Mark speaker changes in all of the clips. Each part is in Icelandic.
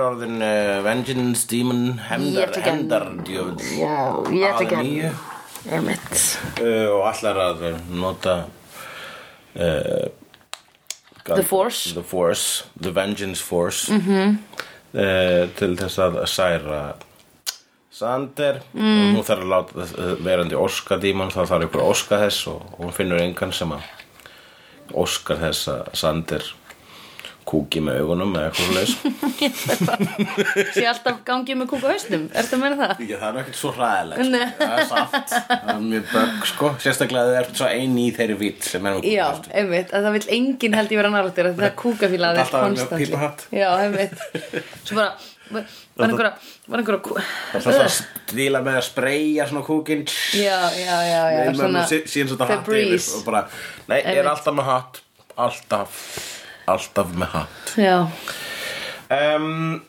Speaker 1: orðin uh, Vengeance Demon
Speaker 2: Ég
Speaker 1: Hemdar,
Speaker 2: ætla ekki að-
Speaker 1: hemdardjöfull
Speaker 2: Já, ég ætla ekki
Speaker 1: Að nýju.
Speaker 2: að Einmitt
Speaker 1: uh, og allar að uh, nota uh, God,
Speaker 2: The Force. Mhm.
Speaker 1: The Force, The Vengeance Force -hmm. uh, til þess að særa Sander mm. og hún þarf að láta þess- uh, verandi Óska díman þá þarf ykkur að óska þess og hún finnur engan sem að óskar þess að Sander kúki með augunum eða eitthvað leys
Speaker 2: Sér alltaf gangið með kúka hausnum Ertu að meina það?
Speaker 1: Já, það er ekkert svo hræðilegt sko.
Speaker 2: Nei.
Speaker 1: Það er satt Það er mjög bögg sko Sérstaklega þegar þú ert svo einn í þeirri vitt sem er nú
Speaker 2: Já, einmitt, að það vil enginn held ég vera nálægt þér að Það er kúkafíla
Speaker 1: Alltaf með pípuhatt.
Speaker 2: Já, einmitt Svo bara, var einhverja Var einhverja kú-
Speaker 1: Það er svona stíla með að spreyja svona kúkinn
Speaker 2: Já, já, já, já
Speaker 1: Nei, svona, síðan svona hatt yfir
Speaker 2: Febreze.
Speaker 1: og bara, nei, ég er
Speaker 2: Einmitt.
Speaker 1: alltaf með hatt alltaf, alltaf með hatt
Speaker 2: Já,
Speaker 1: um,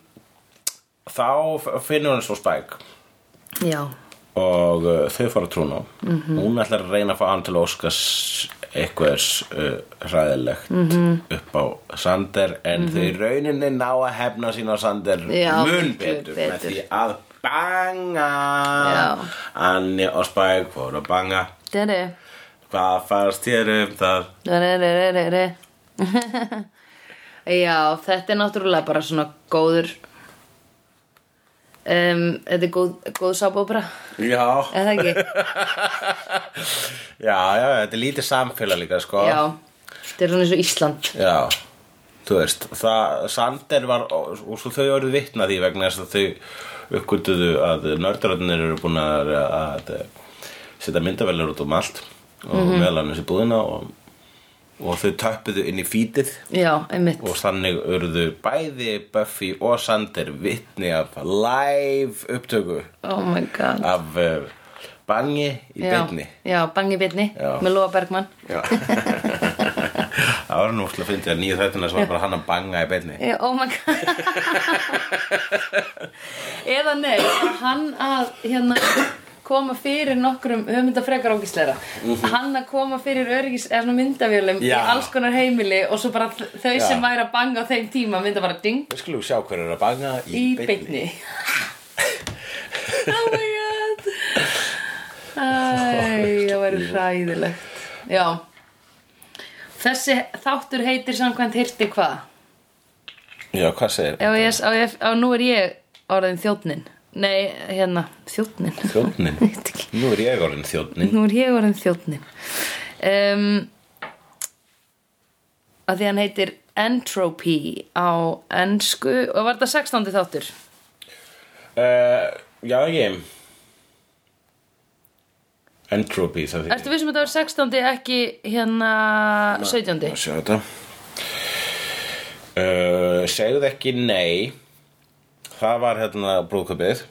Speaker 1: þá f- finnur hún svo spæk
Speaker 2: já,
Speaker 1: og uh, þau fara að trúna mm
Speaker 2: Mhm.
Speaker 1: hún ætlar að reyna að fá hann til að óska s- eitthvað s- uh, hræðilegt
Speaker 2: Mhm.
Speaker 1: upp á Sander en þau í rauninni ná að hefna sín á Sander
Speaker 2: Já,
Speaker 1: mun
Speaker 2: miklu
Speaker 1: betur, með
Speaker 2: betur.
Speaker 1: því að banga
Speaker 2: Já.
Speaker 1: Anni og Spike fóru að banga
Speaker 2: deri
Speaker 1: hvað fannst þér um það
Speaker 2: Re-re-re-re-re. Já, þetta er náttúrulega bara svona góður um, Þetta er góð, góð sábóbra
Speaker 1: já,
Speaker 2: Eða ekki?
Speaker 1: já, já, þetta er lítið samfélag líka sko
Speaker 2: Já, þetta er svona eins og Ísland
Speaker 1: Já, þú veist það, Sander var, og svo þau voru vitna því vegna þess að þau uppgötuðu að nördröðnir eru búin að, að setja myndavelur út um allt og mm -hmm. meðlan þessi búðina og, og þau töppuðu inn í fítið
Speaker 2: Já, einmitt
Speaker 1: og þannig urðu bæði Buffy og Sander vitni af live upptöku
Speaker 2: Oh my god
Speaker 1: af eh, bangi í
Speaker 2: já,
Speaker 1: beinni
Speaker 2: Já, bangi bitni
Speaker 1: Já.
Speaker 2: Með Lóa Bergmann
Speaker 1: Já. það var nú slið að fyndi að nýju þættina sem var bara hann að banga í beinni
Speaker 2: Eh, Oh my god Eða nei, hann að hérna koma fyrir nokkrum höfmynda frekar ógisleira hann að koma fyrir öryggis eða svona myndavélum
Speaker 1: Mhm.
Speaker 2: í
Speaker 1: Já.
Speaker 2: alls konar heimili og svo bara þ- þau
Speaker 1: Já.
Speaker 2: sem væri að banga á þeim tíma mynda bara ding
Speaker 1: Við skulum sjá hver er að banga í,
Speaker 2: í beinni Oh my god Æ, það væri hræðilegt Já Þessi þáttur heitir samkvæmt hirti hvað?
Speaker 1: Já, hvað segir
Speaker 2: Ef ég, á, ég, á nú er ég orðin þjóttnin Nei, hérna, þjóttnin
Speaker 1: Þjónnin?
Speaker 2: Veit ekki.
Speaker 1: Nú er ég orðin þjónnin
Speaker 2: Nú er ég orðin þjóttnin um, Að því hann heitir Entropy á ennsku og var þetta 16. þáttur?
Speaker 1: uh, Já, ég Entropy, það þykir
Speaker 2: Ertu við sem þetta var 16. ekki hérna 17.
Speaker 1: Sjá þetta uh, Segðu ekki nei Það var hérna brúðköpið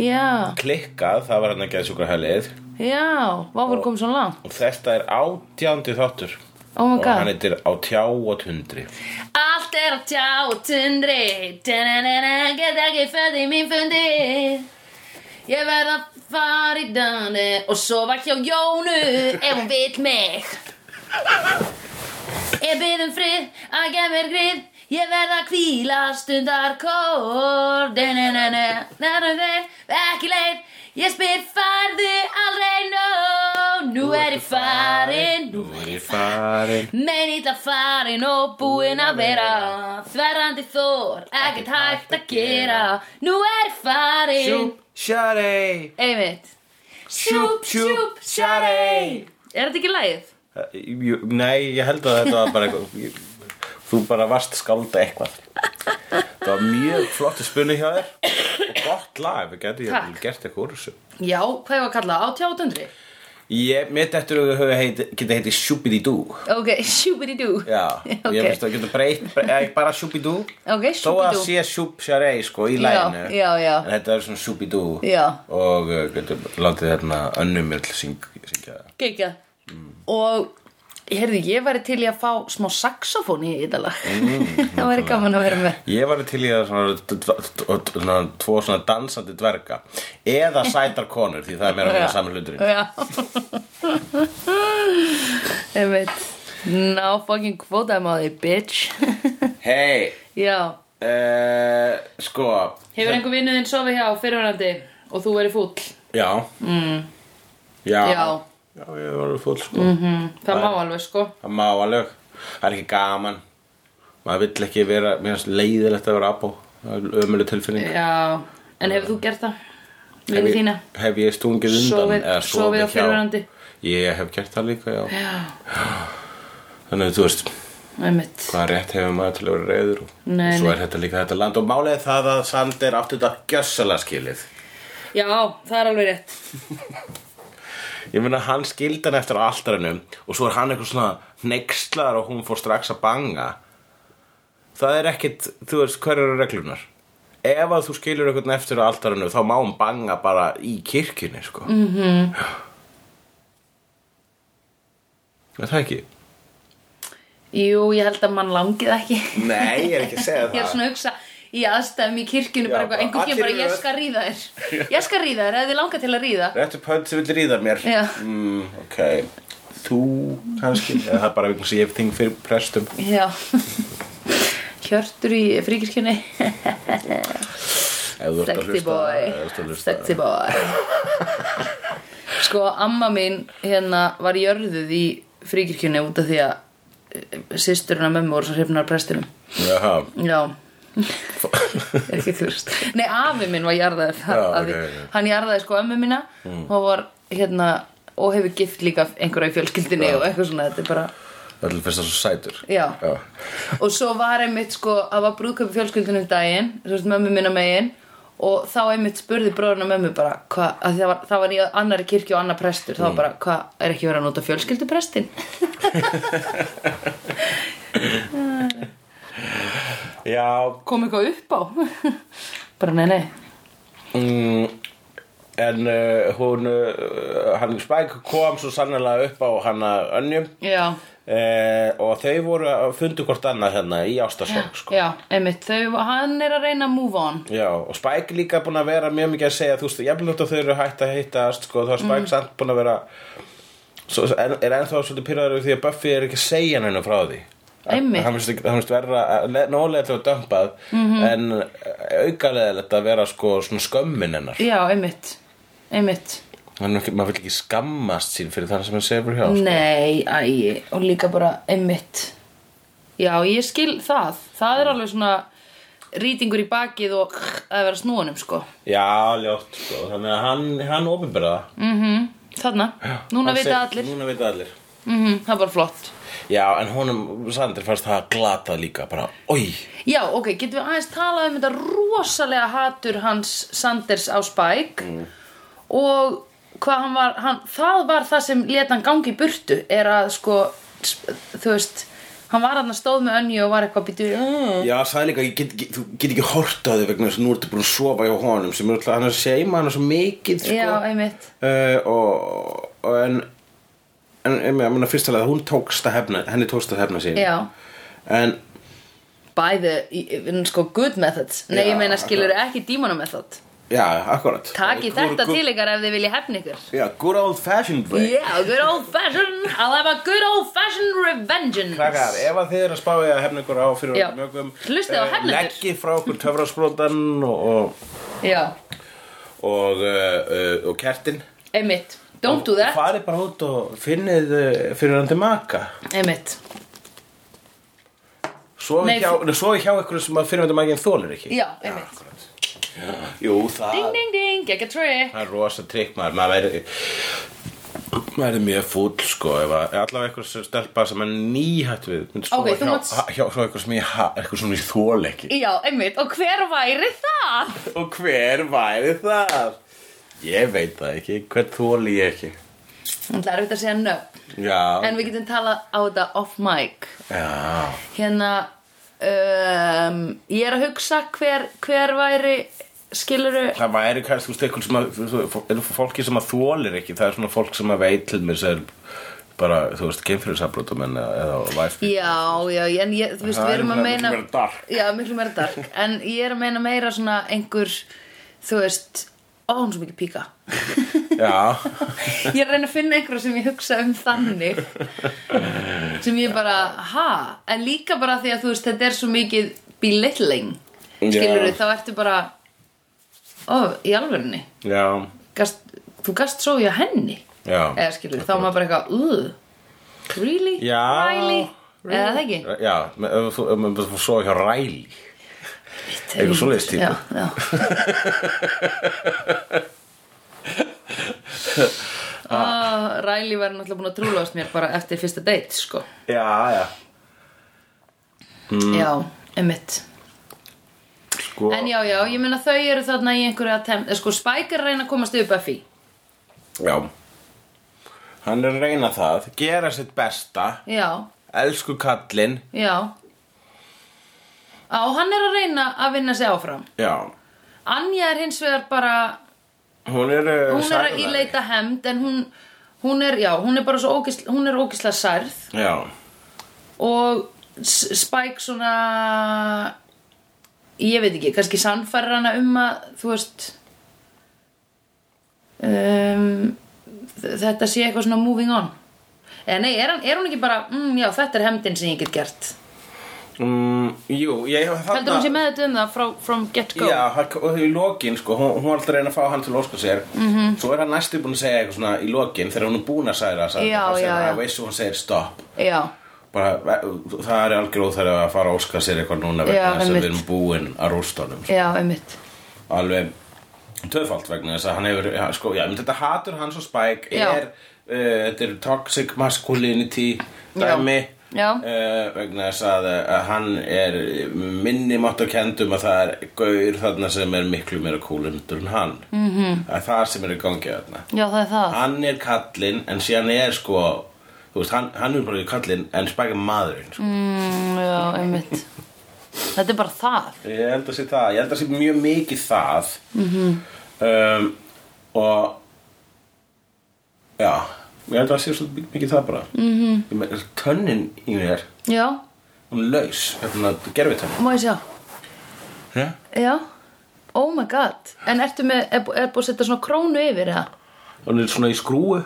Speaker 2: Já,
Speaker 1: Klikkað, það var hérna geðsjúkra helið
Speaker 2: já, váfur kom svo langt
Speaker 1: Og þetta er átjándi þáttur
Speaker 2: Oh my
Speaker 1: Og hann
Speaker 2: god
Speaker 1: heitir á tjá og tundri
Speaker 2: Allt er á tjá og tundri Da-na-na-na, Get ekki föði mín fundi Ég verð að fara í dani Og sofa hjá Jónu Ef hún vill mig Ég bið um frið Að gef mér grið Ég verð að hvíla stundar kór Da-na-na-na, na-na-na, Ekki leið Ég spyr farðu aldrei nóg Nú er ég farin Nú
Speaker 1: er ég farin
Speaker 2: Mein illa farin og búin að vera Þverrandi þór, ekkert hægt að gera Nú er ég farin
Speaker 1: Sjúp, sjari
Speaker 2: Einmitt
Speaker 1: Sjúp, sjúp, sjari
Speaker 2: Er þetta ekki lagið?
Speaker 1: Uh, jú, Nei, ég held að þetta var bara eitthvað ég- Þú bara varst skálda eitthvað Það var mjög flott spunni hjá þér Og gott lag, við getum ég
Speaker 2: Takk.
Speaker 1: gert eitthvað úr þessu
Speaker 2: Já, hvað ég var að kalla? Á tjátundri?
Speaker 1: Ég, mitt eftir að þau heiti, geta heiti Shubididú
Speaker 2: Ok, shubididú
Speaker 1: Já,
Speaker 2: Ok.
Speaker 1: ég finnst að geta breytt, bre- eða bara Shubidú
Speaker 2: Ok,
Speaker 1: Þó að
Speaker 2: shubididú
Speaker 1: sé Shub Sharei sko í læginu
Speaker 2: já, já.
Speaker 1: En þetta er svona Shubidú
Speaker 2: Já.
Speaker 1: Og uh, getum látið hérna önnumjöld syng, syngja það
Speaker 2: Gekja
Speaker 1: Mm.
Speaker 2: Og, heyrðu, ég væri til í að fá smá saxofón í þetta lag
Speaker 1: Mm,
Speaker 2: Það væri gaman að vera með
Speaker 1: Ég var til í að svona, d- d- d- d- svona tvo svona dansandi dverga eða sætar konur því það er meira fyrir saman hluturinn
Speaker 2: Já Einmitt Ná fucking kvótaði maður því, bitch
Speaker 1: Hei,
Speaker 2: Já
Speaker 1: eh, Sko
Speaker 2: Hefur einhver vinnuðinn sofið hjá fyrirverandi og þú verið fúll?
Speaker 1: Já mm. Já
Speaker 2: Já.
Speaker 1: Já, ég var fúll sko mm
Speaker 2: Mhm.
Speaker 1: -hmm.
Speaker 2: Það má alveg sko
Speaker 1: Það má alveg Það er ekki gaman Maður vill ekki vera Mér finnst leiðilegt að vera abó Það er ömuleg tilfinning
Speaker 2: Já, en hefur þú gert það?
Speaker 1: Hef
Speaker 2: Vinnu
Speaker 1: ég-
Speaker 2: Eh, þína?
Speaker 1: Hef ég stungið undan
Speaker 2: Sofið-
Speaker 1: eða
Speaker 2: sofið á
Speaker 1: hjá-
Speaker 2: fyrrverandi?
Speaker 1: Ég hef gert það líka, já
Speaker 2: Já,
Speaker 1: Þannig að þú veist
Speaker 2: einmitt
Speaker 1: Hvað rétt hefur maður til að vera reyður og,
Speaker 2: Nei,
Speaker 1: og svo er þetta líka þetta land og málið er það að Sander átti þetta gjössalega skilið
Speaker 2: Já, það er alveg rétt
Speaker 1: Ég meina hann skildi hann eftir á altarinu og svo er hann eitthvað svona neykslaðar og hún fór strax að banga Það er ekkit, þú veist, hver eru reglunar? Ef að þú skilur eitthvað eftir á altarinu þá má hún banga bara í kirkjunni, sko mm -hmm.
Speaker 2: Mhm.
Speaker 1: Það ekki
Speaker 2: Jú, ég held að mann langið ekki
Speaker 1: Nei, ég er ekki að segja
Speaker 2: Ég er svona að hugsa í aðstæðum í kirkjunni bara
Speaker 1: Já, bara
Speaker 2: eitthvað, einhver kemur
Speaker 1: allir
Speaker 2: bara
Speaker 1: í
Speaker 2: ég
Speaker 1: röð."
Speaker 2: skal ríða þér Ég skal ríða þér, eða þið langar til að ríða
Speaker 1: Rétt upp hönd sem vil ríða mér
Speaker 2: Já.
Speaker 1: mm, Ok Þú kannski Eða það er bara einhvern sem ég hef þing fyrir prestum
Speaker 2: Já Hjörtur í fríkirkjunni
Speaker 1: Ef þú ert að
Speaker 2: Sexy
Speaker 1: hlusta,
Speaker 2: boy
Speaker 1: ef þú ert að hlusta.
Speaker 2: Sexy boy Sko, amma mín hérna var jörðuð í fríkirkjunni út af því að sýsturinn að mömmu voru svo hrifnar prestinum
Speaker 1: Jaha
Speaker 2: Já ekki þurft Nei, afi minn var jarðaður
Speaker 1: Já,
Speaker 2: að
Speaker 1: ok, ok.
Speaker 2: því-
Speaker 1: Mm.
Speaker 2: Hann jarðaði sko ömmu mína og var hérna og hefur gift líka einhverja í fjölskyldinni og eitthvað svona, þetta er bara
Speaker 1: Það er fyrst að svo sætur
Speaker 2: Já.
Speaker 1: Já
Speaker 2: og svo var einmitt sko að var brúðkaup í fjölskyldinu um daginn þú veist mömmu minna megin og þá einmitt spurði bróðurinn að mömmu bara hva, að það, var, það var í annari kirkju og annar prestur þá var bara hvað er ekki verið að nota fjölskylduprestin
Speaker 1: Já
Speaker 2: kom eitthvað upp á bara nei nei
Speaker 1: mm, En uh, hún uh, Hann Spike kom svo sannlega upp á hana önnjum
Speaker 2: já,
Speaker 1: eh, Og þau voru að fundu hvort annað hérna í ástarsorg sko
Speaker 2: já, einmitt þau, hann er að reyna að move on
Speaker 1: Já, og Spike líka búin að vera mjög mikið að segja þú veist, jafnvel þótt að þau eru hægt að heitast sko, þá er
Speaker 2: Mhm.
Speaker 1: Spike samt búin að vera svo, er, er ennþá svolítið pyrraður því að Buffy er ekki að segja henni frá því
Speaker 2: Einmitt. Mhm.
Speaker 1: Hann finnst ekki- hann finnst verra nólega til að dömpað mm -hmm. en aukalegilegt að vera sko svona skömmin hennar
Speaker 2: já, einmitt einmitt
Speaker 1: Hann er ekki, maður vil ekki skammast sín fyrir þannig sem hann sefur
Speaker 2: Mm.
Speaker 1: hjá sko.
Speaker 2: Nei, æ, og líka bara einmitt Já, ég skil það Það er alveg svona rýtingur í bakið og að vera snúanum sko
Speaker 1: Já, ljótt sko, þannig að hann, hann opinberða
Speaker 2: mm Þarna, núna vita allir
Speaker 1: Núna vita allir
Speaker 2: mm Það er bara flott
Speaker 1: Já, en honum, Sandir fannst það glata líka bara, oi
Speaker 2: Já, ok, getum við aðeins talað um þetta rosalega hatur hans Sanders á Spike
Speaker 1: Mm.
Speaker 2: og hvað hann var, hann, það var það sem leta hann gangi í burtu er að sko, sp- þú veist, hann var hann að stóð með önju og var eitthvað býtu mm.
Speaker 1: Já, það er líka, ég get, get, þú get ekki hort á þig vegna þess að nú ertu búin að sofa hjá honum sem er alltaf, hann er að seima hann svo mikið sko.
Speaker 2: Já, einmitt
Speaker 1: uh, og, og en en, en ég meina fyrst alveg að hún tókst að hefna henni tókst að hefna sín
Speaker 2: Já,
Speaker 1: en,
Speaker 2: by the í- sko, good methods Nei,
Speaker 1: Já,
Speaker 2: ég meina skilur ekki dímona method
Speaker 1: já, akkurat
Speaker 2: Takið þetta til ykkar ef þið vilja hefna ykkur
Speaker 1: Já, good old fashioned way
Speaker 2: Yeah, good old fashioned I'll have a good old fashioned revengeance
Speaker 1: Krakkar, ef að þið eru að spá ég að hefna ykkur á fyrir
Speaker 2: Já.
Speaker 1: mjögum
Speaker 2: Hlustið á
Speaker 1: eh,
Speaker 2: hefnendur.
Speaker 1: Leggið frá okkur töfrasprótan og, og,
Speaker 2: Já,
Speaker 1: og, uh, og kertin
Speaker 2: einmitt Don't do that,
Speaker 1: Farið bara út og finnið fyrir hann til maka
Speaker 2: einmitt
Speaker 1: Svo
Speaker 2: Nei,
Speaker 1: Nei, hjá, nei, svo hjá einhverju sem að fyrirvændum maginn þólir ekki
Speaker 2: Já, einmitt
Speaker 1: Akkurat. Jú, það
Speaker 2: Ding, ding, ding, gegga trick
Speaker 1: Það er rosa trikk maður Maður verið maður er mjög fúll sko ef að allavega einhver sem stelpa sem er nýhætt við myndi sofa
Speaker 2: Ok, þú
Speaker 1: hjá,
Speaker 2: mátt-
Speaker 1: ha- hjá svo einhver sem ég ha- einhver sem ég þól ekki
Speaker 2: Já, einmitt, og hver væri það?
Speaker 1: og hver væri það? ég veit það ekki, hvern þóli ég ekki
Speaker 2: Það er erfitt að segja nöfn
Speaker 1: já,
Speaker 2: En við getum talað á þetta off mic
Speaker 1: já
Speaker 2: hérna um, ég er að hugsa hver, hver væri skiluru
Speaker 1: það væri kannski þú veist, einhver sem að þú- eru fólki sem að þólir ekki það er svona fólk sem að veit til mér sem bara, þú veist, kynfyrirsafbrotum en eða væfi
Speaker 2: já, já, en ég, þú veist,
Speaker 1: Það er
Speaker 2: við erum að
Speaker 1: miklu
Speaker 2: meina
Speaker 1: meira dark.
Speaker 2: já, miklu meira dark, en ég er að meina meira svona einhver, þú veist ó, hún er svo mikið píka
Speaker 1: Já,
Speaker 2: ég er að reyna að finna einhverja sem ég hugsa um þannig sem ég bara, ha en líka bara því að þú veist, þetta er svo mikið belittling skilur
Speaker 1: Já.
Speaker 2: þá ertu bara ó, í alvörunni
Speaker 1: já,
Speaker 2: gast, þú gast svo í að henni
Speaker 1: já
Speaker 2: eða skilur, þá er maður bara eitthvað "Ugh, really,
Speaker 1: Já.
Speaker 2: really eða það ekki
Speaker 1: Já, með- ef þú, ef þú- ef þú svo hjá ræli Eitthvað svoleiðis típu.
Speaker 2: já, já. Ah, Riley var náttúrulega búin að trúlaðast mér bara eftir fyrsta date, sko
Speaker 1: Já, já, Mm.
Speaker 2: Já, einmitt
Speaker 1: sko
Speaker 2: En já, já, ég meina þau eru þarna í einhverju að tem... Sko, Spike er að reyna að komast yfir Buffy
Speaker 1: Já Hann er að reyna það, gera sitt besta
Speaker 2: Já,
Speaker 1: Elsku kallinn
Speaker 2: já Á, hann er að reyna að vinna sig áfram
Speaker 1: Já,
Speaker 2: Anja er hins vegar bara
Speaker 1: hún er uh,
Speaker 2: Hún er að
Speaker 1: særðari.
Speaker 2: íleita hemd En hún, hún er, já, hún er bara svo ógisla, Hún er ógisla særð
Speaker 1: Já,
Speaker 2: og S- Spike svona ég veit ekki, kannski sannfærar hana um að þú veist um, þ- þetta sé eitthvað svona moving on eða nei, er, hann, er hún ekki bara mm, já, þetta er hemdin sem ég get gert
Speaker 1: mm, jú, ég hef þarna
Speaker 2: heldur hún sé með þetta um það frá, from get go
Speaker 1: Já, hann- og í lokin, sko, hún, hún var alltaf að reyna að fá hann til að óska sér
Speaker 2: Mhm.
Speaker 1: -hmm. Svo er hann næstu búin að segja eitthvað svona í lokin Þegar hún er búin að særa það
Speaker 2: Já,
Speaker 1: Það
Speaker 2: já,
Speaker 1: segir
Speaker 2: já.
Speaker 1: að veist og hún segir stopp
Speaker 2: já,
Speaker 1: bara, ve- það er algjör óþæri að fara að óska sér eitthvað núna
Speaker 2: Já,
Speaker 1: vegna þess að
Speaker 2: einmitt.
Speaker 1: við erum búin að rústa honum sko.
Speaker 2: já, einmitt
Speaker 1: alveg töfald vegna þess að hann hefur ja, sko, já, en þetta hatur hans og Spike
Speaker 2: Já.
Speaker 1: er, uh, þetta er toxic masculinity
Speaker 2: Já.
Speaker 1: dæmi
Speaker 2: Já.
Speaker 1: eh, vegna þess að, að hann er minni máttakendum um að það er gaur þarna sem er miklu meira kúlundur en hann mm -hmm.
Speaker 2: Mhm.
Speaker 1: að það er sem er í gangi þarna
Speaker 2: já, það er það
Speaker 1: hann er kallinn en síðan er sko þú veist, hann, hann er bara kallinn en Spike er maðurinn sko.
Speaker 2: mm, já, einmitt þetta er bara það
Speaker 1: Ég held að sé það, ég held að sé mjög mikið það -hmm. um, Og Já, ég held að sé svo mikið það bara mm -hmm. Tönnin í mér,
Speaker 2: já,
Speaker 1: hún er laus hérna, Þannig að gerfi tönnin
Speaker 2: má ég sjá
Speaker 1: Já,
Speaker 2: Já, oh my god En ertu með, er, bú- er búið að setja svona krónu yfir eða?
Speaker 1: hún er svona í skrúu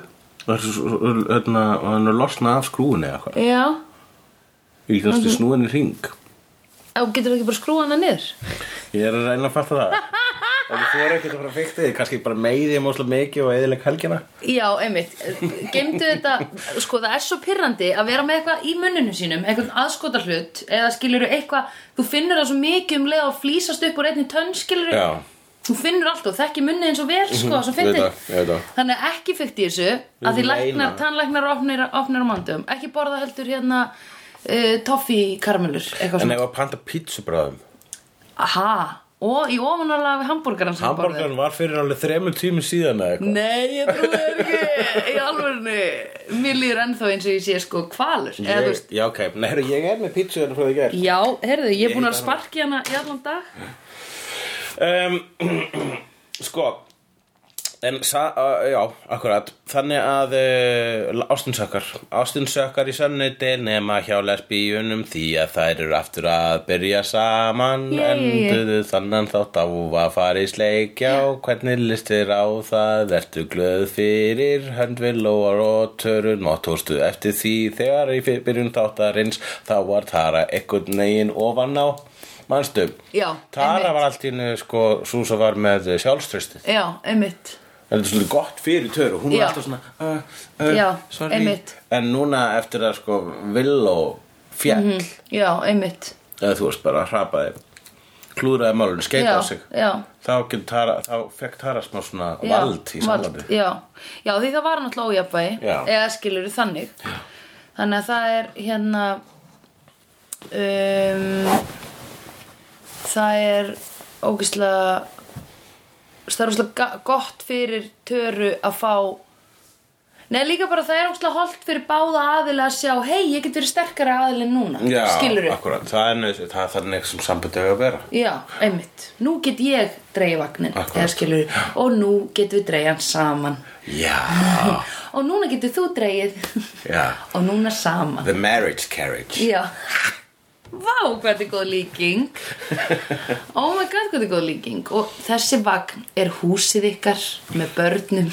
Speaker 1: Og er svo- svo- hérna, og hann er losna af skrúinu eða eitthvað
Speaker 2: Já
Speaker 1: Ég kannast við snúin í ring
Speaker 2: Á, getur ekki bara skrúa hana niður?
Speaker 1: Ég er að reyna að fatta það En þú er ekkert að fara að fykta því Kannski bara meiði ég mjög mikið og eðileg helgina
Speaker 2: Já, einmitt Gemdu þetta, sko það er svo pirrandi að vera með eitthvað í munninu sínum eitthvað aðskota hlut eða skilur eitthvað þú finnur það svo mikið um leið og flýsast upp úr einni tönn skilur
Speaker 1: Já.
Speaker 2: þú finnur allt og þekki munnið eins og vel sko, svo
Speaker 1: Ég Mhm, veit
Speaker 2: fyndið.
Speaker 1: það, ég veit það.
Speaker 2: þannig að ekki fyrkt í þessu að því
Speaker 1: Nei,
Speaker 2: læknar,
Speaker 1: nei.
Speaker 2: tannlæknar opnir, opnir á mandum ekki borða heldur hérna uh, toffi karamellur eitthvað
Speaker 1: En
Speaker 2: svona
Speaker 1: ef að panta pítsu bráðum
Speaker 2: Aha, og í ofanálega við hambúrgaran sem
Speaker 1: Hamburgarn var fyrir alveg þremur tími síðan eða eitthvað.
Speaker 2: Nei, ég trúi þér ekki Í alvörinu Mér líður ennþá eins og ég sé sko kvalur Eða, þú
Speaker 1: Ég,
Speaker 2: veist,
Speaker 1: já, ok, nei, heyrðu, ég er með pítsu hérna frá því gerð.
Speaker 2: Já, heyrðu, ég er búin
Speaker 1: Ég
Speaker 2: að
Speaker 1: bara-
Speaker 2: sparki hana í allan dag
Speaker 1: Um, sko, en, sa, uh, já, akkurat, þannig að uh, ástinsökar, ástinsökar í sannleiti nema hjá lesbíunum því að þær eru aftur að byrja saman
Speaker 2: Jé, jé, jé.
Speaker 1: en duðu þannan þátt á að fara í sleikja og hvernig listir á það, ertu glöð fyrir höndvil og róturun og tóstu eftir því þegar í fyr- byrjun þáttarins þá var Tara einhvern veginn ofan á manstu
Speaker 2: Já,
Speaker 1: Tara
Speaker 2: einmitt.
Speaker 1: var allt í hennu sko svo sem var með sjálfströstið
Speaker 2: Já, einmitt
Speaker 1: þetta er svolítið gott fyrir töru hún
Speaker 2: Já.
Speaker 1: var alltaf svona uh, uh,
Speaker 2: Já,
Speaker 1: sorry.
Speaker 2: einmitt.
Speaker 1: en núna eftir að sko Villó fjall
Speaker 2: Mhm. Já, einmitt
Speaker 1: eða þú veist bara hrapaði klúðraði málun, skeita
Speaker 2: Já,
Speaker 1: á sig
Speaker 2: já.
Speaker 1: þá, getur Tara, þá fekk Tara smá svona
Speaker 2: Já,
Speaker 1: vald í samlandu
Speaker 2: Já, já því það var náttúrulega ójafnvægi
Speaker 1: Já.
Speaker 2: Eða skilur þannig já. Þannig að það er hérna um, Það er ógeðslega Það er ógeðslega ga- gott fyrir töru að fá Nei, líka bara það er ógeðslega holdt fyrir báða aðila að sjá Hei, ég get verið sterkara aðila en núna
Speaker 1: Já,
Speaker 2: Skilurðu?
Speaker 1: akkurat, það er nöðsveit, það er þannig sem sambandi hefur að vera
Speaker 2: Já, einmitt. Nú get ég dreigja vagnin,
Speaker 1: Akkúrat.
Speaker 2: eða skilur, og nú getum við dreigja hann saman.
Speaker 1: Já,
Speaker 2: Og núna getur þú dreigið,
Speaker 1: já,
Speaker 2: og núna saman.
Speaker 1: the marriage carriage
Speaker 2: Já. Vá, hvað þetta er góð líking. Oh my god, hvað þetta er góð líking. Og þessi vagn er húsið ykkar með börnum.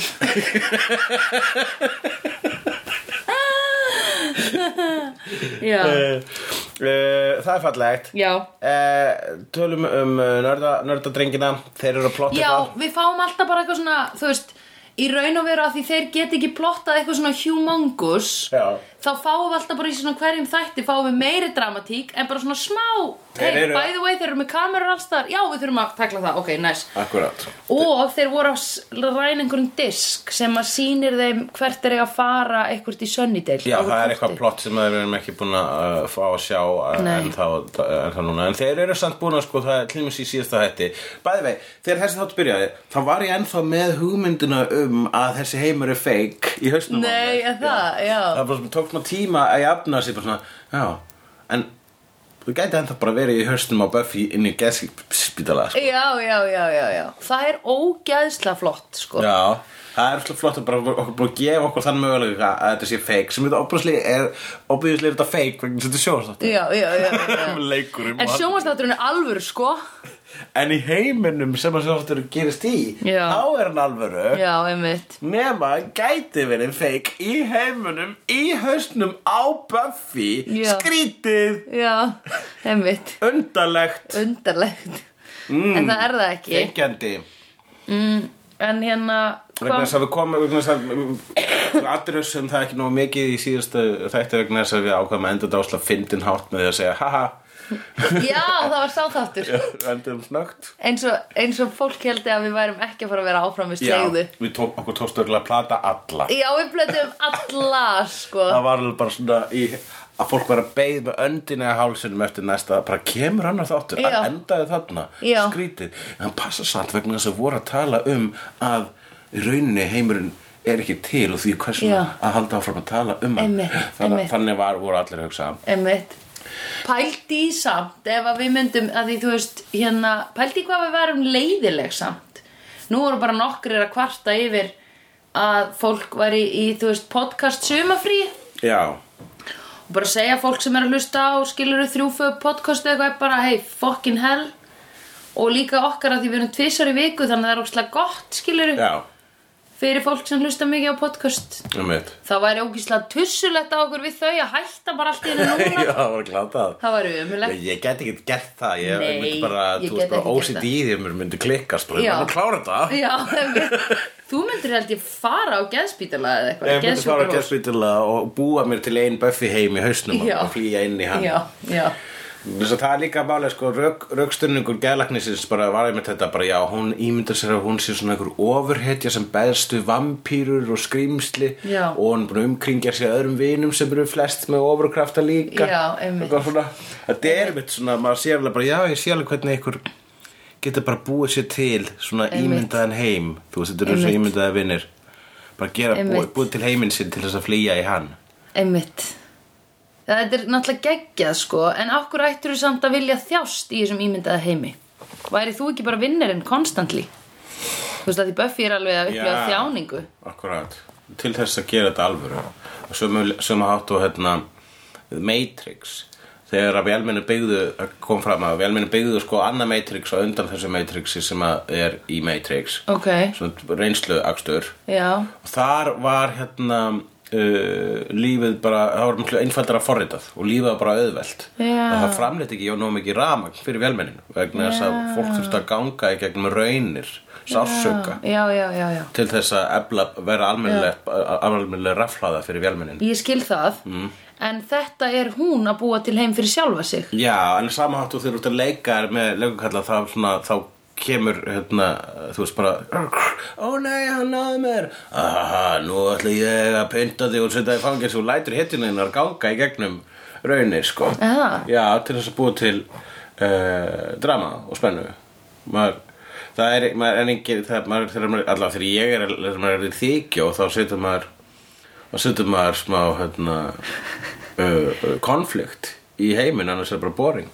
Speaker 2: Já.
Speaker 1: Eh, eh, Það er fallegt
Speaker 2: Já.
Speaker 1: Eh, Tölum um eh, nörda, nördadrengina Þeir eru að plotta
Speaker 2: Já,
Speaker 1: eitthvað.
Speaker 2: við fáum alltaf bara eitthvað svona, þú veist, í raun og veru að því þeir get ekki plottað eitthvað svona humongous,
Speaker 1: Já.
Speaker 2: þá fáum við alltaf bara í svona hverjum þætti, fáum við meiri dramatík, en bara svona smá,
Speaker 1: Þeir
Speaker 2: hey,
Speaker 1: eru-
Speaker 2: by the way, þeir eru með kamerur alls þar, já, við þurfum að takla það, ok, nice.
Speaker 1: Akkurát
Speaker 2: Og þeir voru að s- ræna einhverjum disk sem að sýnir þeim hvert er eiga að fara eitthvað í Sunnydale.
Speaker 1: Já,
Speaker 2: á
Speaker 1: það er
Speaker 2: korti.
Speaker 1: eitthvað plott sem við erum ekki búin að uh, fá að sjá uh,
Speaker 2: Nei.
Speaker 1: en þá, en þá núna En þeir eru samt búin að sko, það er til dæmis í síðasta hætti Bæði vei, þegar þessi þátt byrjaði þá var ég ennþá með hugmyndina um að þessi heimur er fake í hausnum á
Speaker 2: Nei,
Speaker 1: mér.
Speaker 2: er það, já.
Speaker 1: Það var bara svona, tók maður tíma að jafna sig bara svona, já, en þú gæti ennþá bara verið í hausnum á Buffy inn í geðskipítala sko.
Speaker 2: Já, já, já, já, já. Það er ógæðsla flott, sko.
Speaker 1: Já, það er svolítið flott að bara okkur, okkur búin að gefa okkur þann mögulega að þetta sé fake sem þetta opaslega er, opaslega er þetta fake vegna þess að þetta sjóðast þetta
Speaker 2: já, já, já, já.
Speaker 1: leikurum
Speaker 2: En sjónvastátturinn er alvöru, sko.
Speaker 1: en í heiminum sem að sjóðastur gerist í
Speaker 2: Já.
Speaker 1: þá er hann alvöru
Speaker 2: Já, einmitt.
Speaker 1: nema hann gæti verið feik í heiminum í hausnum á Buffy
Speaker 2: Já.
Speaker 1: skrítið,
Speaker 2: Já, einmitt.
Speaker 1: undarlegt
Speaker 2: Undarlegt.
Speaker 1: Mm.
Speaker 2: En það er það ekki.
Speaker 1: feikjandi
Speaker 2: En hérna,
Speaker 1: vegna
Speaker 2: hvað?
Speaker 1: þess að við komum vegna þess að við aðrössum það ekki nóg mikið í síðustu þætti vegna þess að við ákvæmum að enda dásla fyndin hátt með því að segja haha
Speaker 2: Já, það var sáþáttur.
Speaker 1: endum snögt
Speaker 2: Eins og, eins og fólk heldi að við værum ekki að fara að vera áfram við slegðu.
Speaker 1: við tók, okkur tókst örgulega að plata alla
Speaker 2: Já, við blöðum alla, sko.
Speaker 1: það var alveg bara svona í, að fólk var að beið með öndina í hálsinum eftir næsta, bara kemur annar þáttur
Speaker 2: Já.
Speaker 1: að endaði þarna,
Speaker 2: Já.
Speaker 1: skrítið en hann passa samt vegna þess að voru að tala um að í rauninni heimurinn er ekki til og því hversum
Speaker 2: Já.
Speaker 1: að halda áfram að tala um hann
Speaker 2: Einmitt,
Speaker 1: þannig,
Speaker 2: einmitt.
Speaker 1: þannig var, voru allir að hugsa
Speaker 2: Einmitt. Pældi í samt ef að við myndum að því þú veist hérna, pældi í hvað við varum leiðileg samt. Nú voru bara nokkrir að kvarta yfir að fólk væri í, þú veist, podcast sumafrí og
Speaker 1: já,
Speaker 2: bara segja fólk sem er að hlusta á skilur þrjúföð podcast eða eitthvað er bara hey, fucking hell og líka okkar að því við erum tvisar í viku þannig að það er ógislega gott skilur
Speaker 1: já,
Speaker 2: fyrir fólk sem hlusta mikið á podcast
Speaker 1: um eitt
Speaker 2: það væri ógislega tussulegt á okkur við þau að hætta bara allt í hennu
Speaker 1: já,
Speaker 2: núna
Speaker 1: það var glatað
Speaker 2: það væri umulegt
Speaker 1: Ég get ekki gert það, ég
Speaker 2: Nei,
Speaker 1: myndi bara, þú
Speaker 2: ég get
Speaker 1: veist bara
Speaker 2: ekki gert
Speaker 1: OCD í þér myndi klikkast, bara,
Speaker 2: Já.
Speaker 1: ég var að klára þetta
Speaker 2: Já, einmitt. þú myndir held ég fara á geðspítala eða eitthvað
Speaker 1: Ég myndi fara á
Speaker 2: geðsjúkrahús.
Speaker 1: gæstvítilega og búa mér til einn Buffy heim í hausnum
Speaker 2: Já.
Speaker 1: og flýja inn í hann
Speaker 2: Já, já,
Speaker 1: Þess að Mm. það er líka málega sko rök, rökstunningur geðlagnisins bara var einmitt þetta bara já, hún ímyndar sér að hún sé svona einhver ofurhetja sem beðstu vampýrur og skrýmsli
Speaker 2: Já.
Speaker 1: og hún búin að umkringja sér öðrum vinum sem eru flest með ofurkrafta líka
Speaker 2: Já, einmitt.
Speaker 1: Eitthvað svona, þetta er einmitt svona, maður sé alveg bara já, ég sé alveg hvernig einhver getur bara búið sér til svona
Speaker 2: Einmitt.
Speaker 1: ímyndaðan heim þú veist, þetta eru svo
Speaker 2: Einmitt.
Speaker 1: ímyndaða vinnir bara gera, búið,
Speaker 2: Einmitt.
Speaker 1: búið til heiminn sinn til þess að flýja í hann
Speaker 2: einmitt Það er náttúrulega geggjað sko En okkur ættir þú samt að vilja þjást í þessum ímyndaða heimi Væri þú ekki bara vinnarinn konstantli? Þú veist að því Buffy er alveg að upplifa
Speaker 1: Já.
Speaker 2: þjáningu
Speaker 1: Akkurát, til þess að gera þetta alvöru Og sömu, sömu hátt og hérna Matrix þegar að velmenni byggðu kom fram að velmenni byggðu sko annað Matrix og undan þessu Matrixi sem að er í Matrix
Speaker 2: Ok,
Speaker 1: svona reynslu akstur
Speaker 2: já,
Speaker 1: og þar var hérna uh, lífið bara, það var miklu einfaldara forritað og lífið var bara auðvelt
Speaker 2: Já.
Speaker 1: og það framleitt ekki og nóg mikið ramagn fyrir velmenninu vegna þess að
Speaker 2: Já.
Speaker 1: fólk þurfti að ganga í gegnum raunir, sásöka
Speaker 2: já, já, já, já
Speaker 1: til þess að ebla, vera almennilega almennilega rafhlaða fyrir vélmennin
Speaker 2: Ég skil það
Speaker 1: Mm.
Speaker 2: En þetta er hún að búa til heim fyrir sjálfa sig
Speaker 1: Já, en samhátt og þegar þú ert að leika þér með leikukalla þá, svona, þá kemur hérna, þú veist bara ó nei, hann náði mér aha, nú ætla ég að pynta þig og setja þig fangins og lætur hittinuðinnar ganga í gegnum raunir sko.
Speaker 2: Aha.
Speaker 1: Já, til þess að búa til uh, drama og spennu maður Það er, maður er engin, það er, maður, þegar maður, allavega þegar ég er, þegar maður er í þykjó, þá setur maður, þá setur maður smá, hérna, uh, uh, konflikt í heiminn, annars er það bara boring.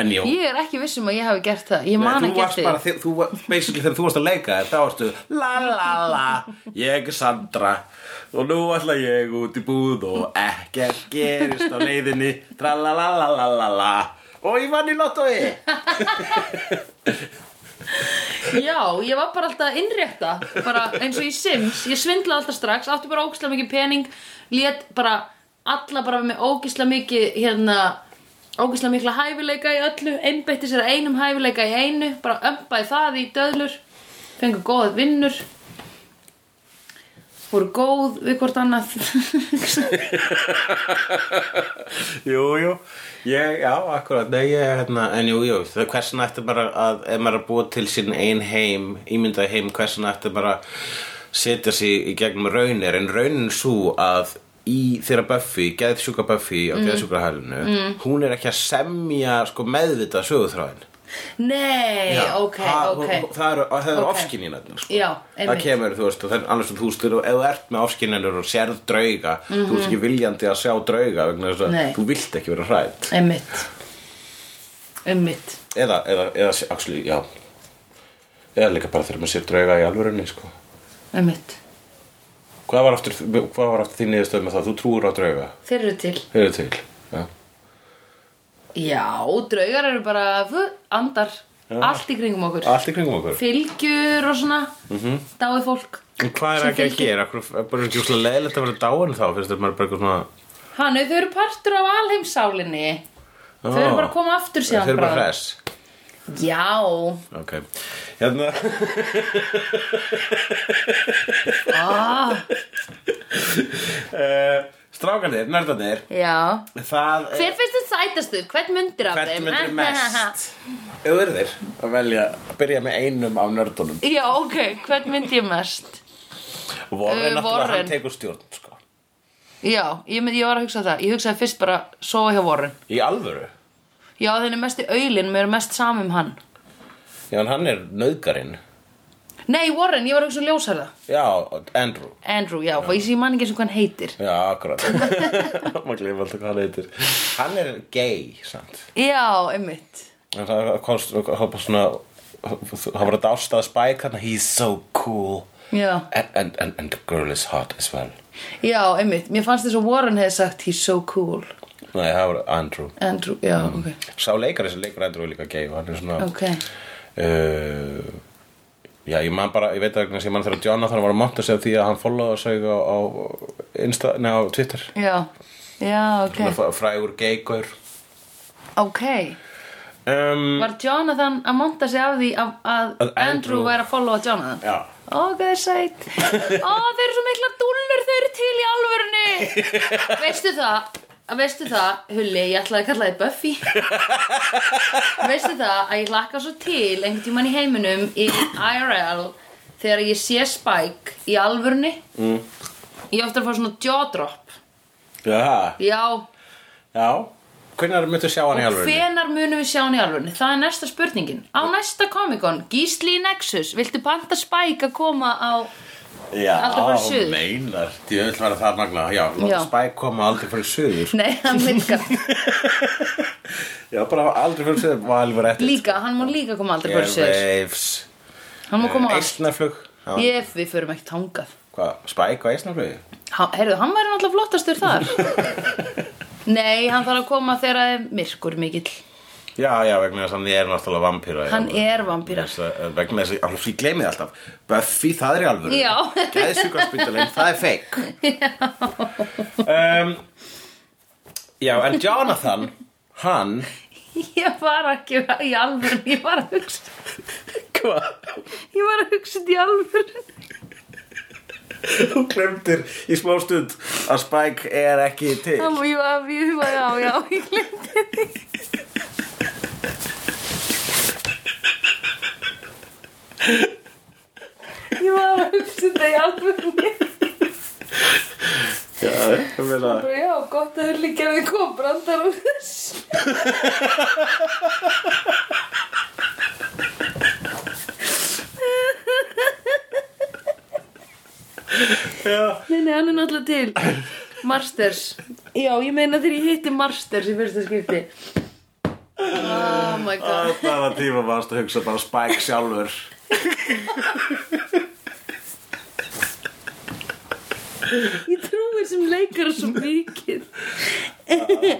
Speaker 1: En já,
Speaker 2: Ég er ekki viss um að ég hafi gert það Ég man
Speaker 1: þú
Speaker 2: ekki
Speaker 1: varst
Speaker 2: eftir því.
Speaker 1: bara, þi- þú, var- basically þegar þú varst að leika þér, þá varstu, la la la, ég er Sandra og nú ætla ég út í búð og ekkert gerist á leiðinni, tra la la la la la la, og ég vann í lottói.
Speaker 2: Já, ég var bara alltaf að innrétta bara eins og í Sims, ég svindlaði alltaf strax átti bara ógstlega mikið pening lét bara alla bara með ógisla mikið hérna ógisla mikla hæfileika í öllu einbeitti sér að einum hæfileika í einu bara ömpaði það í döðlur fengu góða vinnur voru góð við hvort annað
Speaker 1: Jú, jú, ég, já, akkurat Nei, ég, hérna, en jú, jú það, Hversin ætti bara að, ef maður er að búa til sín ein heim, ímyndaði heim Hversin ætti bara að setja sig í gegnum raunir, en raunin svo að í þeirra Buffy, geðsjúka Buffy á mm. geðsjúkrahælinu hún er ekki að semja sko meðvita sögutráðin
Speaker 2: nei, ok,
Speaker 1: það,
Speaker 2: ok
Speaker 1: hún- það eru, það eru
Speaker 2: Ok.
Speaker 1: okay. ofskinninarnir sko.
Speaker 2: Já,
Speaker 1: það
Speaker 2: einmitt.
Speaker 1: kemur, þú veist, og það er annars þú veist, ef þú ert með ofskinninur og sérð drauga þú veist ekki viljandi að sjá drauga vegna þess að
Speaker 2: Mhm. Nei.
Speaker 1: þú vilt ekki vera hrætt
Speaker 2: einmitt einmitt
Speaker 1: eða, eða, eða, actually, já eða líka bara þegar maður sér drauga í alvörunni, sko
Speaker 2: einmitt
Speaker 1: hvað var aftur, hvað var aftur þín niðurstöð með það, þú trúur á drauga
Speaker 2: þeir eru til
Speaker 1: hefur til, já
Speaker 2: já, draugar eru bara fu, andar,
Speaker 1: Já.
Speaker 2: allt í kringum okkur
Speaker 1: allt Mhm. í kringum okkur
Speaker 2: fylgjur og svona dáið fólk
Speaker 1: En hvað er
Speaker 2: Sem
Speaker 1: ekki að
Speaker 2: fylgir-
Speaker 1: gera, Akkur- er bara ekki úrslega leðilegt að vera dáin þá, finnst þér maður bara eitthvað svona
Speaker 2: Hannu, þau eru partur af alheimsálinni Þau eru
Speaker 1: Ó.
Speaker 2: bara að koma aftur síðan
Speaker 1: þau eru bara
Speaker 2: bráðum.
Speaker 1: hress
Speaker 2: Já,
Speaker 1: Ok, hérna
Speaker 2: ah,
Speaker 1: uh, Strákanir, nördarnir
Speaker 2: já
Speaker 1: Það
Speaker 2: Hver finnst þið sætastur? Hvern myndir af
Speaker 1: hvert
Speaker 2: þeim?
Speaker 1: myndir mest Ef þú verðir að velja að byrja með einum af nördunum
Speaker 2: Já, ok, hvern myndi ég mest?
Speaker 1: Warren,
Speaker 2: Eh,
Speaker 1: náttúrulega,
Speaker 2: Warren.
Speaker 1: hann tekur stjórn sko.
Speaker 2: Já, ég, myndi, ég var að hugsa það Ég hugsaði fyrst bara sofa hjá Warren
Speaker 1: Í alvöru
Speaker 2: Já, þeir eru mest í auðlinn, mér er mest sama um hann
Speaker 1: Já, en hann er nöðgarinn
Speaker 2: Nei, Warren, ég var að hugsa um ljósarða
Speaker 1: Já, Andrew
Speaker 2: Andrew, já, já. ég man ekki eins og hvað hann heitir
Speaker 1: Já, akkurat Maður gleymur alltaf hvað hann heitir Hann er gay, sant
Speaker 2: Já, einmitt
Speaker 1: En það komst, hann bara svona Hann var að dástaða Spike hann He's so cool
Speaker 2: Já
Speaker 1: and, and, and, and the girl is hot as well
Speaker 2: Já, einmitt, mér fannst þess að Warren hefði sagt He's so cool
Speaker 1: Nei, það var Andrew
Speaker 2: Andrew, já,
Speaker 1: Mm.
Speaker 2: ok
Speaker 1: Sá leikari sem leikur Andrew er líka gay og hann er svona
Speaker 2: Ok,
Speaker 1: uh, Já, ég man bara, ég veit ekki ég man þegar Jonathan var að monta sig af því að hann followða sig á, á, Insta, nei, á Twitter
Speaker 2: já, já, ok
Speaker 1: okay. frægur geigur
Speaker 2: Ok,
Speaker 1: um,
Speaker 2: var Jonathan að monta sig af því að, að
Speaker 1: Að
Speaker 2: Andrew,
Speaker 1: Andrew-
Speaker 2: væri að followa Jonathan
Speaker 1: Já.
Speaker 2: Ó, hvað er sætt Ó, þeir eru svo mikla dúllur, þeir eru til í alvörinu Veistu það, veistu það, Hulli, ég ætlaði að kalla þið Buffy Veistu það að ég lakka svo til einhvern tímann í heiminum í IRL þegar ég sé Spike í alvörinu mm. Ég á eftir að fá svona jaw drop
Speaker 1: Já,
Speaker 2: Já,
Speaker 1: já Hvernig myndu sjá hann í
Speaker 2: Og
Speaker 1: alveg?
Speaker 2: hvenær munum við sjá hann í alvörunni? Það er næsta spurningin. Á næsta Comic-Con, Gísli í Nexus, viltu panta Spike að koma á...
Speaker 1: Já,
Speaker 2: Aldrei fara í suður.
Speaker 1: meinar Ég vil vera það magna, já,
Speaker 2: Já.
Speaker 1: láta Spike koma aldrei fyrir suður
Speaker 2: Nei, hann virkar
Speaker 1: Já, bara aldrei fyrir suður, var alveg rétt
Speaker 2: líka, hann má líka koma aldrei bara sér.
Speaker 1: Airwaves
Speaker 2: Hann má koma á...
Speaker 1: Eistnaflug
Speaker 2: Ég, við förum ekkert hangað.
Speaker 1: Hvað, Spike á eistnaflugi?
Speaker 2: Herðu, hann væri náttúrulega flottastur þar. Nei, hann þarf að koma þegar það er myrkur mikill.
Speaker 1: Já, já, vegna þess að hann er náttúrulega vampýra
Speaker 2: Hann er vampíra.
Speaker 1: Vegna þess að ég gleymi það alltaf Buffy, það er í alvöru
Speaker 2: Já.
Speaker 1: Gæðsjúkarspítalinn, það er fake Já um, Já, en Jonathan Hann
Speaker 2: Ég var ekki í alvörunni, ég var að hugsa...
Speaker 1: Hvað?
Speaker 2: Ég var að hugsa þetta í alvörunni.
Speaker 1: Þú glemtir í smá stund að Spike er ekki til
Speaker 2: Hann, jú, jú, já, já, ég glemt. Ég var að hugsa þetta í alvörunni
Speaker 1: Já, ég meina
Speaker 2: Bara, Já, gott að þau líka við kom brandar úr þess
Speaker 1: Já,
Speaker 2: Nei, nei, hann er náttúrulega til Marsters Já, ég meina þegar ég hitti Marsters í fyrsta skipti Oh my god
Speaker 1: það var tíma varst að hugsa bara Spike sjálfur
Speaker 2: Ég trúi þessum leikara svo mikið Æ,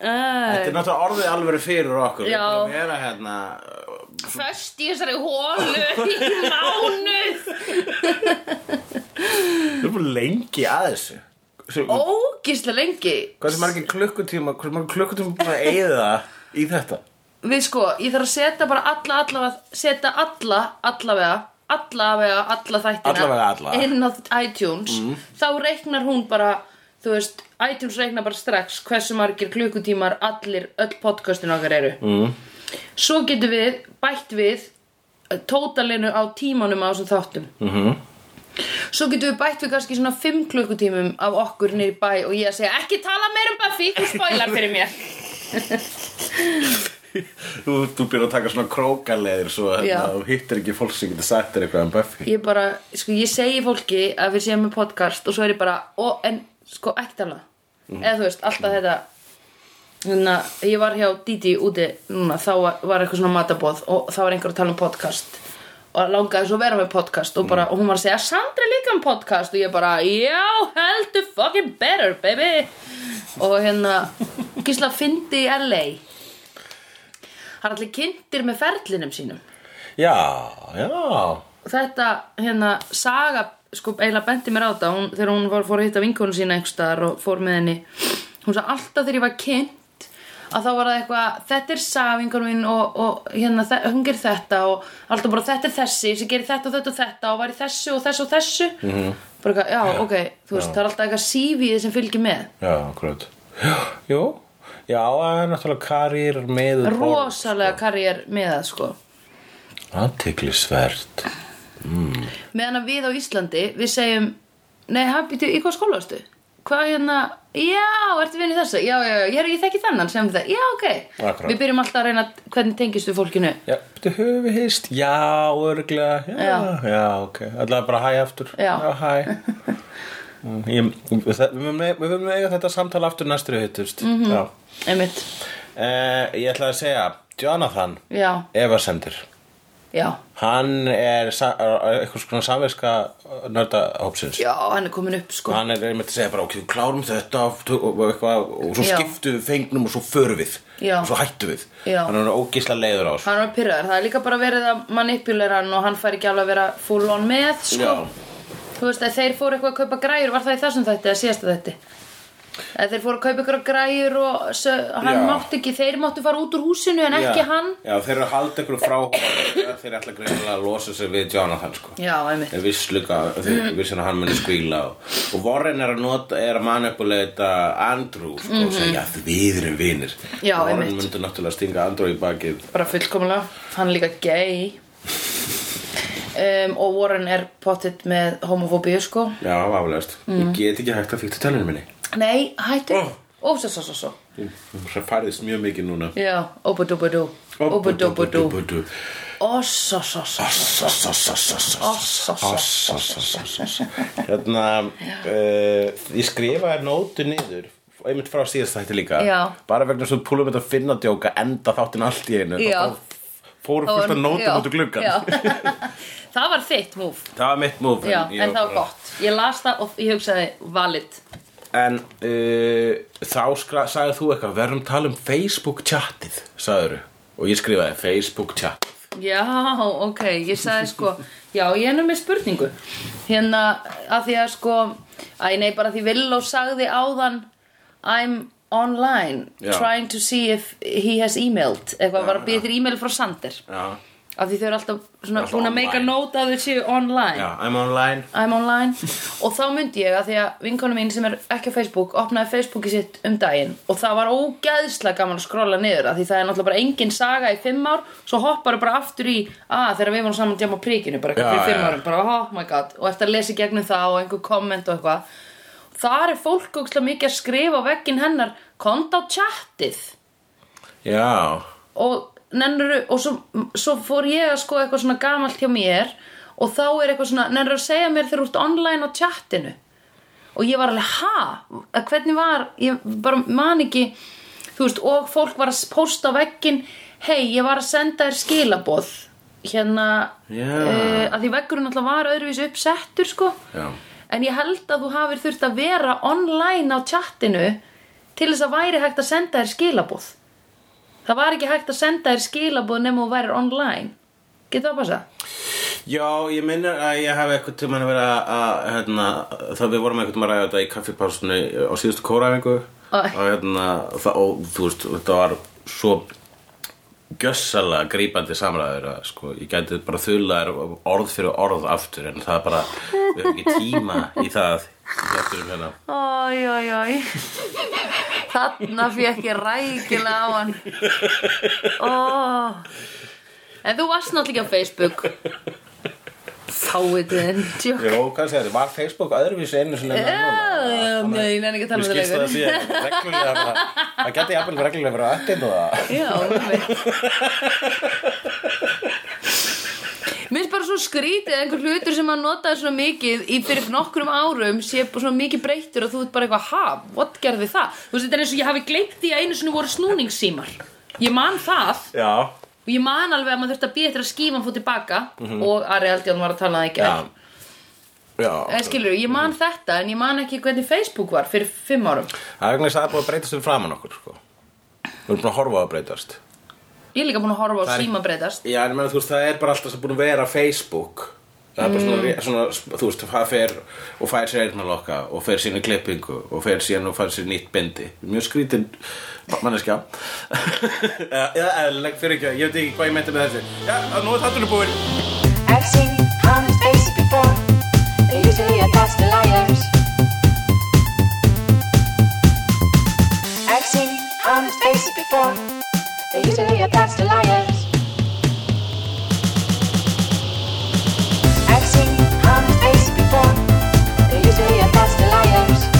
Speaker 1: Þetta er náttúrulega orðið alveg fyrir okkur Við
Speaker 2: Já.
Speaker 1: erum að vera hérna
Speaker 2: Föst í þessari hólu í mánuð
Speaker 1: eh, Við erum bara lengi að þessu Hvað
Speaker 2: ógislega lengi
Speaker 1: sem margir klukkutíma Hvað sem margir klukkutíma búin að eyða í þetta
Speaker 2: við sko, ég þarf að setja bara alla allavega, setja alla allavega allavega, alla þættina
Speaker 1: Allavega alla. Mm.
Speaker 2: inn á iTunes þá reiknar hún bara þú veist, iTunes reiknar bara strax hversu margir klukkutímar allir öll podcastin okkar eru mm. svo getum við bætt við eh, tótalinu á tímanum á þessum þáttum mm
Speaker 1: Mhm.
Speaker 2: -hmm. svo getum við bætt við kannski svona 5 klukkutímum af okkur niður í bæ og ég að segja ekki tala meir um Buffy, þú spoilar fyrir mér
Speaker 1: Þú, þú byrjar að taka svona krókaleðir svo
Speaker 2: Já.
Speaker 1: hérna, þú hittir ekki fólk sem getur sagt þér eitthvað um Buffy
Speaker 2: ég bara, sko, ég segi fólki að við séum með podcast og svo er ég bara ó, en, sko, ekki tala eða þú veist, alltaf þetta þannig að ég var hjá Didi úti núna, þá var, var eitthvað svona matabóð og þá var einhver að tala um podcast og langaði svo að vera með podcast og, bara, og hún var að segja, Sandra er líka um podcast og ég bara, já, heldur fucking better, baby og hérna, gísla fyndi í LA hann er allir kynntir með ferlinum sínum
Speaker 1: Já, já
Speaker 2: þetta hérna saga sko eiginlega benti mér á þetta hún, þegar hún var, fór að hitta vinkonu sína einhverstaðar og fór með henni hún sagði alltaf þegar ég var kynnt að þá var það eitthvað þetta er saga vinkonu mín og, og hérna þe- hún gerir þetta og alltaf bara þetta er þessi sem gerir þetta og þetta og þetta og var í þessu og þessu og þessu -hmm. bara eitthvað, já ok, þú veist það er alltaf eitthvað sífið sem fylgir með
Speaker 1: Já, gröð Jú, já, það er náttúrulega karýr með
Speaker 2: rosalega karriér með það sko
Speaker 1: Athyglisvert
Speaker 2: meðan að við á Íslandi við segjum, nei, hann býtu í hvað skóla varstu? hvað hérna, já, ertu vinni þessa, já, já, já, ég, ég þekki þennan sem það, já, ok,
Speaker 1: Akkurat.
Speaker 2: við byrjum alltaf að reyna hvernig tengistu fólkinu,
Speaker 1: Já, þú höfum við hist Já, örglega Já,
Speaker 2: Já.
Speaker 1: já, ok Alla bara hæ aftur
Speaker 2: Já.
Speaker 1: hæ Mm, ég, það, Við mögum- við mögum eiga þetta samtala aftur næstur hittust mm
Speaker 2: Mhm.
Speaker 1: -hmm. Já
Speaker 2: einmitt
Speaker 1: eh, Ég ætla að segja Jonathan
Speaker 2: já,
Speaker 1: Evasendur
Speaker 2: já,
Speaker 1: Hann er sa- er einhvers konar samverska nördahópsins
Speaker 2: já, hann er komin upp sko,
Speaker 1: Hann er einmitt að segja bara ok, við klárum þetta og, og, eitthvað, og svo
Speaker 2: Já.
Speaker 1: skiptum við fengnum og svo förum við
Speaker 2: Já.
Speaker 1: og svo hættum við
Speaker 2: Já.
Speaker 1: Hann er ógisla leiður á þessu
Speaker 2: hann var pyrraður, það er líka bara verið að manipulera hann og hann fær ekki alveg að vera full on með, sko,
Speaker 1: Já.
Speaker 2: þú veist, að þeir fóru eitthvað að kaupa græjur, var það í þessum þætti eða síðasta þætti? Að þeir fóru að kaupa ykkur græjur og sö, hann
Speaker 1: Já.
Speaker 2: mátti ekki, þeir máttu fara út úr húsinu en
Speaker 1: Já.
Speaker 2: ekki hann.
Speaker 1: Já, þeir eru að halda ykkur frá honum, þeir ætla greinilega að losa sig við Jonathan sko.
Speaker 2: Já, einmitt.
Speaker 1: þeir viss líka þeir vissin að hann muni skvíla og, og Warren er að nota er að manipuleita Andrew sko, og segja að við erum vinir
Speaker 2: Mm. Já,
Speaker 1: Warren
Speaker 2: einmitt.
Speaker 1: myndi náttúrulega stinga Andrew í bakið
Speaker 2: bara fullkomlega hann er líka gay um, og Warren er pottitt með homofóbíu sko
Speaker 1: Já, aflegast
Speaker 2: Mm.
Speaker 1: Ég get ekki hægt að fíkta tölunum minni
Speaker 2: nei, hættu
Speaker 1: Oh.
Speaker 2: ó, svo, svo, svo, svo
Speaker 1: Það færðist mjög mikið núna
Speaker 2: já, obadubadú obadubadú
Speaker 1: Obadubadú.
Speaker 2: ó, svo, svo, svo
Speaker 1: Hérna uh, Ég skrifaði nótu niður einmitt frá síðast þætti líka
Speaker 2: Já.
Speaker 1: bara vegna svo púlum þetta að finna djóka enda þáttinn allt í einu
Speaker 2: Já.
Speaker 1: þá fóru fyrst að
Speaker 2: Já,
Speaker 1: nótum út úr gluggan
Speaker 2: já. það var þitt múf
Speaker 1: það var mitt múf
Speaker 2: já, en það var gott ég las það og ég hugsaði valid
Speaker 1: en uh, þá skra, sagði þú eitthvað verðum tala um Facebook chatið sagður og ég skrifaði Facebook chat
Speaker 2: Já, ok, ég sagði sko Já, ég er nú með spurningu Hérna, að því að sko Æ, nei, bara því Villó sagði áðan I'm online
Speaker 1: Já. Ah.
Speaker 2: Trying to see if he has emailed Eitthvað, var að býða þér email frá Sander
Speaker 1: já,
Speaker 2: Af því þau eru alltaf svona
Speaker 1: Alltaf
Speaker 2: búin að make a
Speaker 1: online.
Speaker 2: note að þau séu online
Speaker 1: já, I'm online
Speaker 2: I'm online og þá myndi ég að því að vinkonu mín sem er ekki á Facebook opnaði Facebooki sitt um daginn og það var ógeðslega gaman að skrolla niður að því það er náttúrulega bara engin saga í fimm ár svo hoppar bara aftur í að þegar við vorum saman djáma á prikinu bara
Speaker 1: Já,
Speaker 2: fyrir fimm
Speaker 1: já.
Speaker 2: árum bara oh my god og eftir að lesa í gegnum það og einhver komment og eitthvað þar er fólk ógeðslega mikið að skrifa á veggin hennar kont á chatið
Speaker 1: já,
Speaker 2: og, nennuru, og svo, svo fór ég að sko eitthvað svona gamalt hjá mér og þá er eitthvað svona, nennur að segja mér þegar þú ert online á chatinu og ég var alveg, ha? Að Hvernig var, ég bara man ekki þú veist, og fólk var að posta á veggin, hei, ég var að senda þér skilaboð hérna,
Speaker 1: Já.
Speaker 2: eh, að því veggurinn alltaf var öðruvísi uppsettur, sko
Speaker 1: Já.
Speaker 2: en ég held að þú hafir þurft að vera online á chatinu til þess að væri hægt að senda þér skilaboð Það var ekki hægt að senda þér skilaboð nema þú værir online. Getur það að passa?
Speaker 1: Já, ég minnir að ég hef eitthvað tíma að vera að, hérna, það við vorum eitthvað tíma að ræða þetta í kaffipásunni á síðustu kóraðingu
Speaker 2: Ó.
Speaker 1: og hérna, það, og þú veist, þetta var svo gjössalega grípandi samræður að sko, ég gæti bara þula þér orð fyrir orð aftur en það er bara, við höfum ekki tíma í það eftir um hérna.
Speaker 2: Ój, ój, ój Þarna fekk ég rækilega á hann Ó En þú varst náttúrulega ekki á Facebook Fáið þinn Tjók
Speaker 1: Jó, kannski þetta var Facebook öðruvísi einu sinni en annað.
Speaker 2: Já,
Speaker 1: Þannig-
Speaker 2: Nei, ég nefn ekki að tala
Speaker 1: Mér
Speaker 2: um það
Speaker 1: skilst það að
Speaker 2: lengur
Speaker 1: sé reglulega bara, það geti jafnvel reglulega verið að öllinu það.
Speaker 2: Já, einmitt. Mér finnst bara svo skrítið að einhver hlutur sem maður notaði svona mikið í fyrir nokkrum árum sé bara svona mikið breyttur og þú ert bara eitthvað, ha, what gerði það? Þú veist, þetta er eins og ég hafi gleypt því að einu svona voru snúningssímar. Ég man það
Speaker 1: Já,
Speaker 2: og ég man alveg að maður þurfti að býja eftir að skíman fór tilbaka og Ari Aldján var að tala það í
Speaker 1: Mhm. já. Mhm.
Speaker 2: gær.
Speaker 1: Já,
Speaker 2: En skilur, ég man þetta en ég man ekki hvernig Facebook var fyrir fimm árum.
Speaker 1: Það er vegna þess að það er búið að breytast fyrir framann okkur sko. Við erum búin að horfa á að breytast
Speaker 2: Ég er líka búin að horfa
Speaker 1: Það
Speaker 2: á
Speaker 1: er-
Speaker 2: síma breytast.
Speaker 1: Já, en ég meina, þú veist, það er bara alltaf sem búin að vera Facebook Það er bara svona, svona, þú veist, það fer og fær sér eyrnalokka og fer sínu klippingu og fer síðan og fær sér nýtt bindi Mjög skrítin manneskja Eh, Eða eðlileg, fyrir ekki, ég veit ekki hvað ég meinti með þessu Já, nú er þáttunum búin
Speaker 3: I've seen honest faces before. They're usually a past liars. I've seen honest faces before. They're usually a past liars.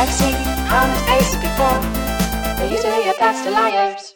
Speaker 3: I've seen honest faces before. They're usually a past liars. I've seen honest faces before. They're usually a past liars.